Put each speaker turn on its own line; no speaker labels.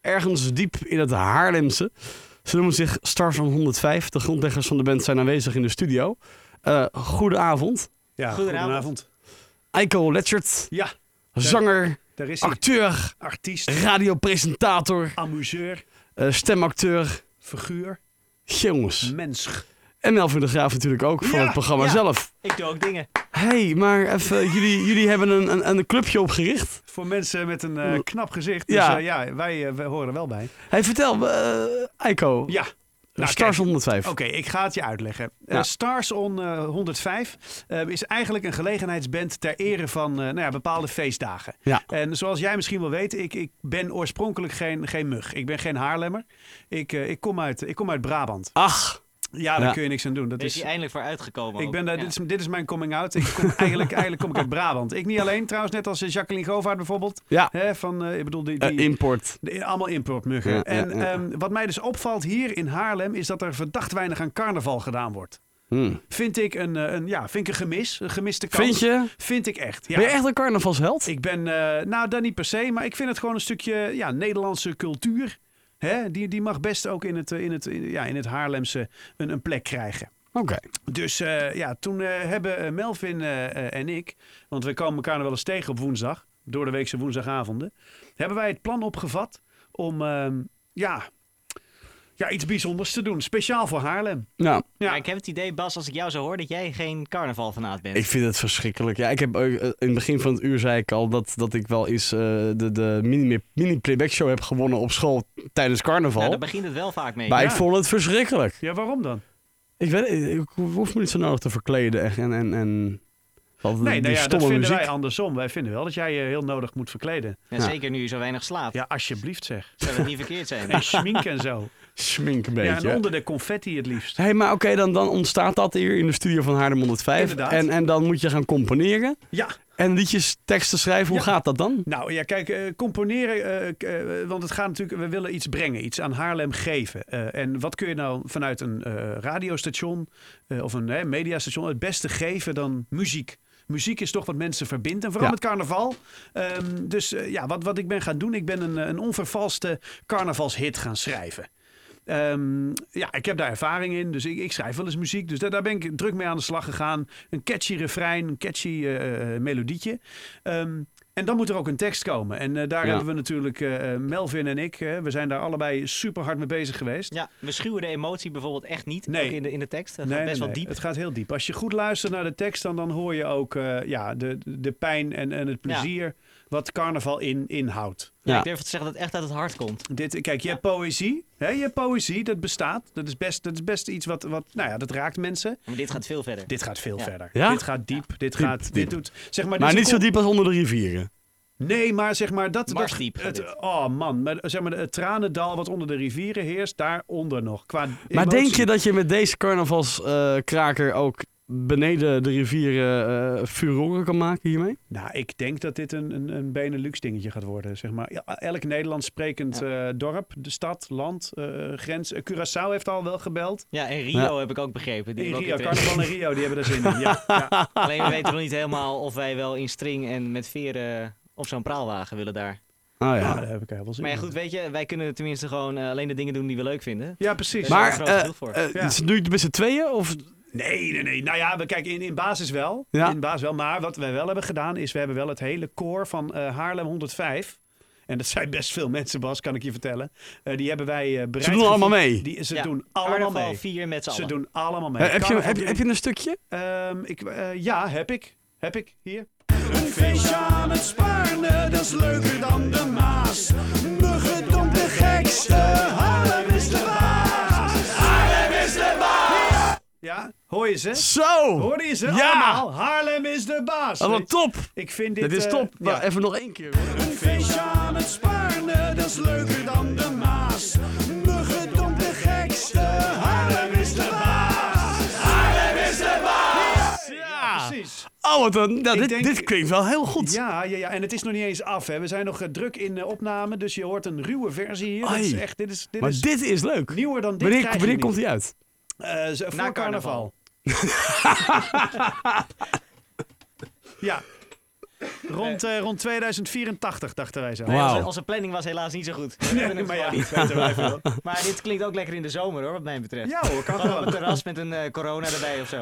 ergens diep in het Haarlemse. Ze noemen zich Star van 105. De grondleggers van de band zijn aanwezig in de studio. Eh goedenavond.
Ja,
Goedenavond.
goedenavond.
Eiko Letchert,
Ja,
zanger,
daar is hij.
acteur,
Artiest,
radiopresentator,
amuseur,
eh, stemacteur.
figuur,
Jongens.
mens.
En Melvin de Graaf natuurlijk ook voor
Ja,
het programma
ja.
zelf.
Ik doe ook dingen.
Hé, hey, maar even, jullie, jullie hebben een, een, een clubje opgericht.
Voor mensen met een eh, knap gezicht. Dus
Ja.
ja, ja wij, eh, wij horen er wel bij.
Hey, vertel, eh Eiko.
Ja. Nou,
Stars
kijk.
105.
Oké, ik ga het je uitleggen. Eh,
Ja.
Stars on eh, 105 eh, is eigenlijk een gelegenheidsband ter ere van eh, nou ja, bepaalde feestdagen.
Ja.
En zoals jij misschien wel weet, ik, ik ben oorspronkelijk geen, geen mug. Ik ben geen Haarlemmer. Ik, eh, ik, kom, uit, ik kom uit Brabant.
Ach,
Ja, daar
Ja.
kun je niks aan doen. Dat
Daar is
is,
hij eindelijk voor uitgekomen.
Ik
ook.
ben daar, dus-
Ja.
dit, is, dit is mijn coming out. Ik kom eigenlijk, eigenlijk kom ik uit Brabant. Ik niet alleen trouwens, net als eh, Jacqueline Govaert bijvoorbeeld.
ja.
Hè, van, eh, ik bedoel, die,
Eh,
die,
import.
die- allemaal importmuggen.
Ja, ja,
en
ja.
ehm, wat mij dus opvalt hier in Haarlem is dat er verdacht weinig aan carnaval gedaan wordt.
Hmm.
Vind ik een, eh, een, ja, vind ik een gemis, een gemiste kans.
Vind je?
Vind ik echt. Ja.
Ben je echt een carnavalsheld?
Ik ben, eh, nou dat niet per se, maar ik vind het gewoon een stukje ja, Nederlandse cultuur. Hè? Die, die mag best ook in het, eh, in het, in- ja, in het Haarlemse een, een plek krijgen.
Oké.
Dus eh, ja, toen eh, hebben eh, Melvin eh, eh, en ik, want we komen elkaar nog wel eens tegen op woensdag, door de weekse woensdagavonden, hebben wij het plan opgevat om ehm, ja, ja, iets bijzonders te doen, speciaal voor Haarlem.
Nou,
Ja,
Maar ik heb het idee, Bas, als ik jou zo hoor, dat jij geen carnavalfanaat bent.
ik vind het verschrikkelijk. Ja, ik heb eh, eh, in het begin van het uur zei ik al dat, dat ik wel eens eh, de, de mini- mini-playback show heb gewonnen op school tijdens carnaval.
nou, daar begint het wel vaak mee.
maar
ja.
ik vond het verschrikkelijk.
ja waarom dan?
Ik, weet, ik hoef me niet zo nodig te verkleden echt en... en, en want
Nee,
die
nou ja, dat
stomme
vinden
muziek.
wij andersom. Wij vinden wel dat jij je heel nodig moet verkleden.
Ja,
Ja.
Zeker nu je zo weinig slaapt.
Ja, alsjeblieft zeg.
Zou dat niet verkeerd zijn?
En schmink en zo.
Smink een
Ja,
beetje.
en onder de confetti het liefst.
Hey, maar oké, dan, dan ontstaat dat hier in de studio van Haarlem 105.
Inderdaad.
En, en dan moet je gaan componeren
Ja,
en liedjes, teksten schrijven. Hoe
Ja.
gaat dat dan?
Nou ja, kijk, eh, componeren, eh, k- eh, want het gaat natuurlijk, we willen iets brengen, iets aan Haarlem geven. Eh, en wat kun je nou vanuit een eh, radiostation eh, of een hè, mediastation het beste geven dan muziek? Muziek is toch wat mensen verbindt en vooral
Ja.
met carnaval. Ehm, dus eh, ja, wat, wat ik ben gaan doen, ik ben een, eh, een onvervalste carnavalshit gaan schrijven. Ehm, ja, ik heb daar ervaring in, dus ik, ik schrijf wel eens muziek. Dus daar, daar ben ik druk mee aan de slag gegaan. Een catchy refrein, een catchy eh, eh, melodietje. Ehm, en dan moet er ook een tekst komen. En eh, daar
Ja.
hebben we natuurlijk eh, Melvin en ik, eh, we zijn daar allebei super hard mee bezig geweest.
Ja, we schuwen de emotie bijvoorbeeld echt niet
Nee.
ook in, de, in de tekst. Dat
Nee,
gaat best
nee,
wel
nee.
diep.
Het gaat heel diep. Als je goed luistert naar de tekst, dan, dan hoor je ook eh, ja, de, de pijn en, en het plezier wat carnaval in, inhoudt.
Ja,
Ja.
Ik durf te zeggen dat het echt uit het hart komt.
Dit, kijk, je hebt poëzie. Hè? Je hebt poëzie, dat bestaat. Dat is best, dat is best iets wat, wat, nou ja, dat raakt mensen.
Maar dit gaat veel verder.
Dit gaat veel
Ja.
verder.
Ja?
Dit gaat diep. Dit, gaat,
diep.
dit doet. Zeg maar, dit
Maar
is
niet zo
een
diep als onder de rivieren.
kom- Nee, maar zeg maar dat. dat
Marsdiep gaat
het-
dit.
oh man, maar, zeg maar het tranendal wat onder de rivieren heerst, daaronder nog. Qua
Maar
emotie.
denk je dat je met deze carnavalskraker ook beneden de rivieren eh furoren kan maken hiermee?
Nou, ik denk dat dit een, een, een Benelux dingetje gaat worden, zeg maar. Ja, elk Nederlands sprekend eh, dorp, de stad, land, eh, grens. Eh, Curaçao heeft al wel gebeld.
Ja, en Rio heb ik ook begrepen. Die
In
hebben
Rio,
ook interesse.
Carnaval en Rio, die hebben daar zin in. Ja, ja.
Alleen we weten nog niet helemaal of wij wel in string en met veren op zo'n praalwagen willen daar.
Ah
Ja,
ja.
Nou, daar heb ik heel wel zin
Maar ja,
in.
goed, weet je, wij kunnen tenminste gewoon eh, alleen de dingen doen die we leuk vinden.
Ja, precies.
daar
Maar
is wel
eh,
genoeg voor.
eh,
Ja.
is het nu met z'n tweeën? Of...
Nee, nee, nee. Nou ja, we kijken in, in basis wel.
Ja.
In basis wel. Maar wat wij wel hebben gedaan is, we hebben wel het hele koor van eh, Haarlem 105. En dat zijn best veel mensen, Bas, kan ik je vertellen. Eh, die hebben wij eh bereid.
Ze doen allemaal
gevoerd.
mee.
Die, ze
Ja,
doen allemaal
Carnaval
mee.
vier met z'n
Ze
allen.
doen allemaal mee.
Eh, heb, je,
Carnaval
heb, je- heb je een stukje?
Ehm, ik, eh, ja, heb ik. Heb ik hier. Een feestje aan het Spaarne, dat is leuker dan de Maas. Muggedom de gekste, Haarlem is de baas. Haarlem is de baas. Ja, hoor je ze?
Zo!
Hoor je ze
Ja!
allemaal? Haarlem is de baas.
Ah, wat top!
Ik vind dit...
Dat is
eh,
top.
ja.
Maar Even nog één keer. hoor.
Een feestje aan het Spaarne, dat is leuker dan de Maas. Muggedom de gekste, Haarlem is de baas. Haarlem is de baas. ja
Ja.
precies.
Oh, wat een... nou,
Ik
dit,
denk-
dit klinkt wel heel goed.
Ja, ja, ja, en het is nog niet eens af. Hè. We zijn nog eh, druk in eh, opname, dus je hoort een ruwe versie hier. Dit is
Ai.
echt, dit is, dit
maar
is
dit is leuk.
nieuwer dan dit.
wanneer
krijg je
wanneer
niet.
komt hij uit?
Eh, ze- voor carnaval.
carnaval.
ja. Rond, eh, rond 2084 dachten wij zo.
Wauw.
Nee, onze, onze planning was helaas niet zo goed. We hebben het
maar ja,
gewoon
niet weten wij veel.
niet. Maar dit klinkt ook lekker in de zomer hoor, wat mij betreft.
Ja hoor, kan
Gewoon op
gewoon.
een terras met een eh, corona erbij of zo.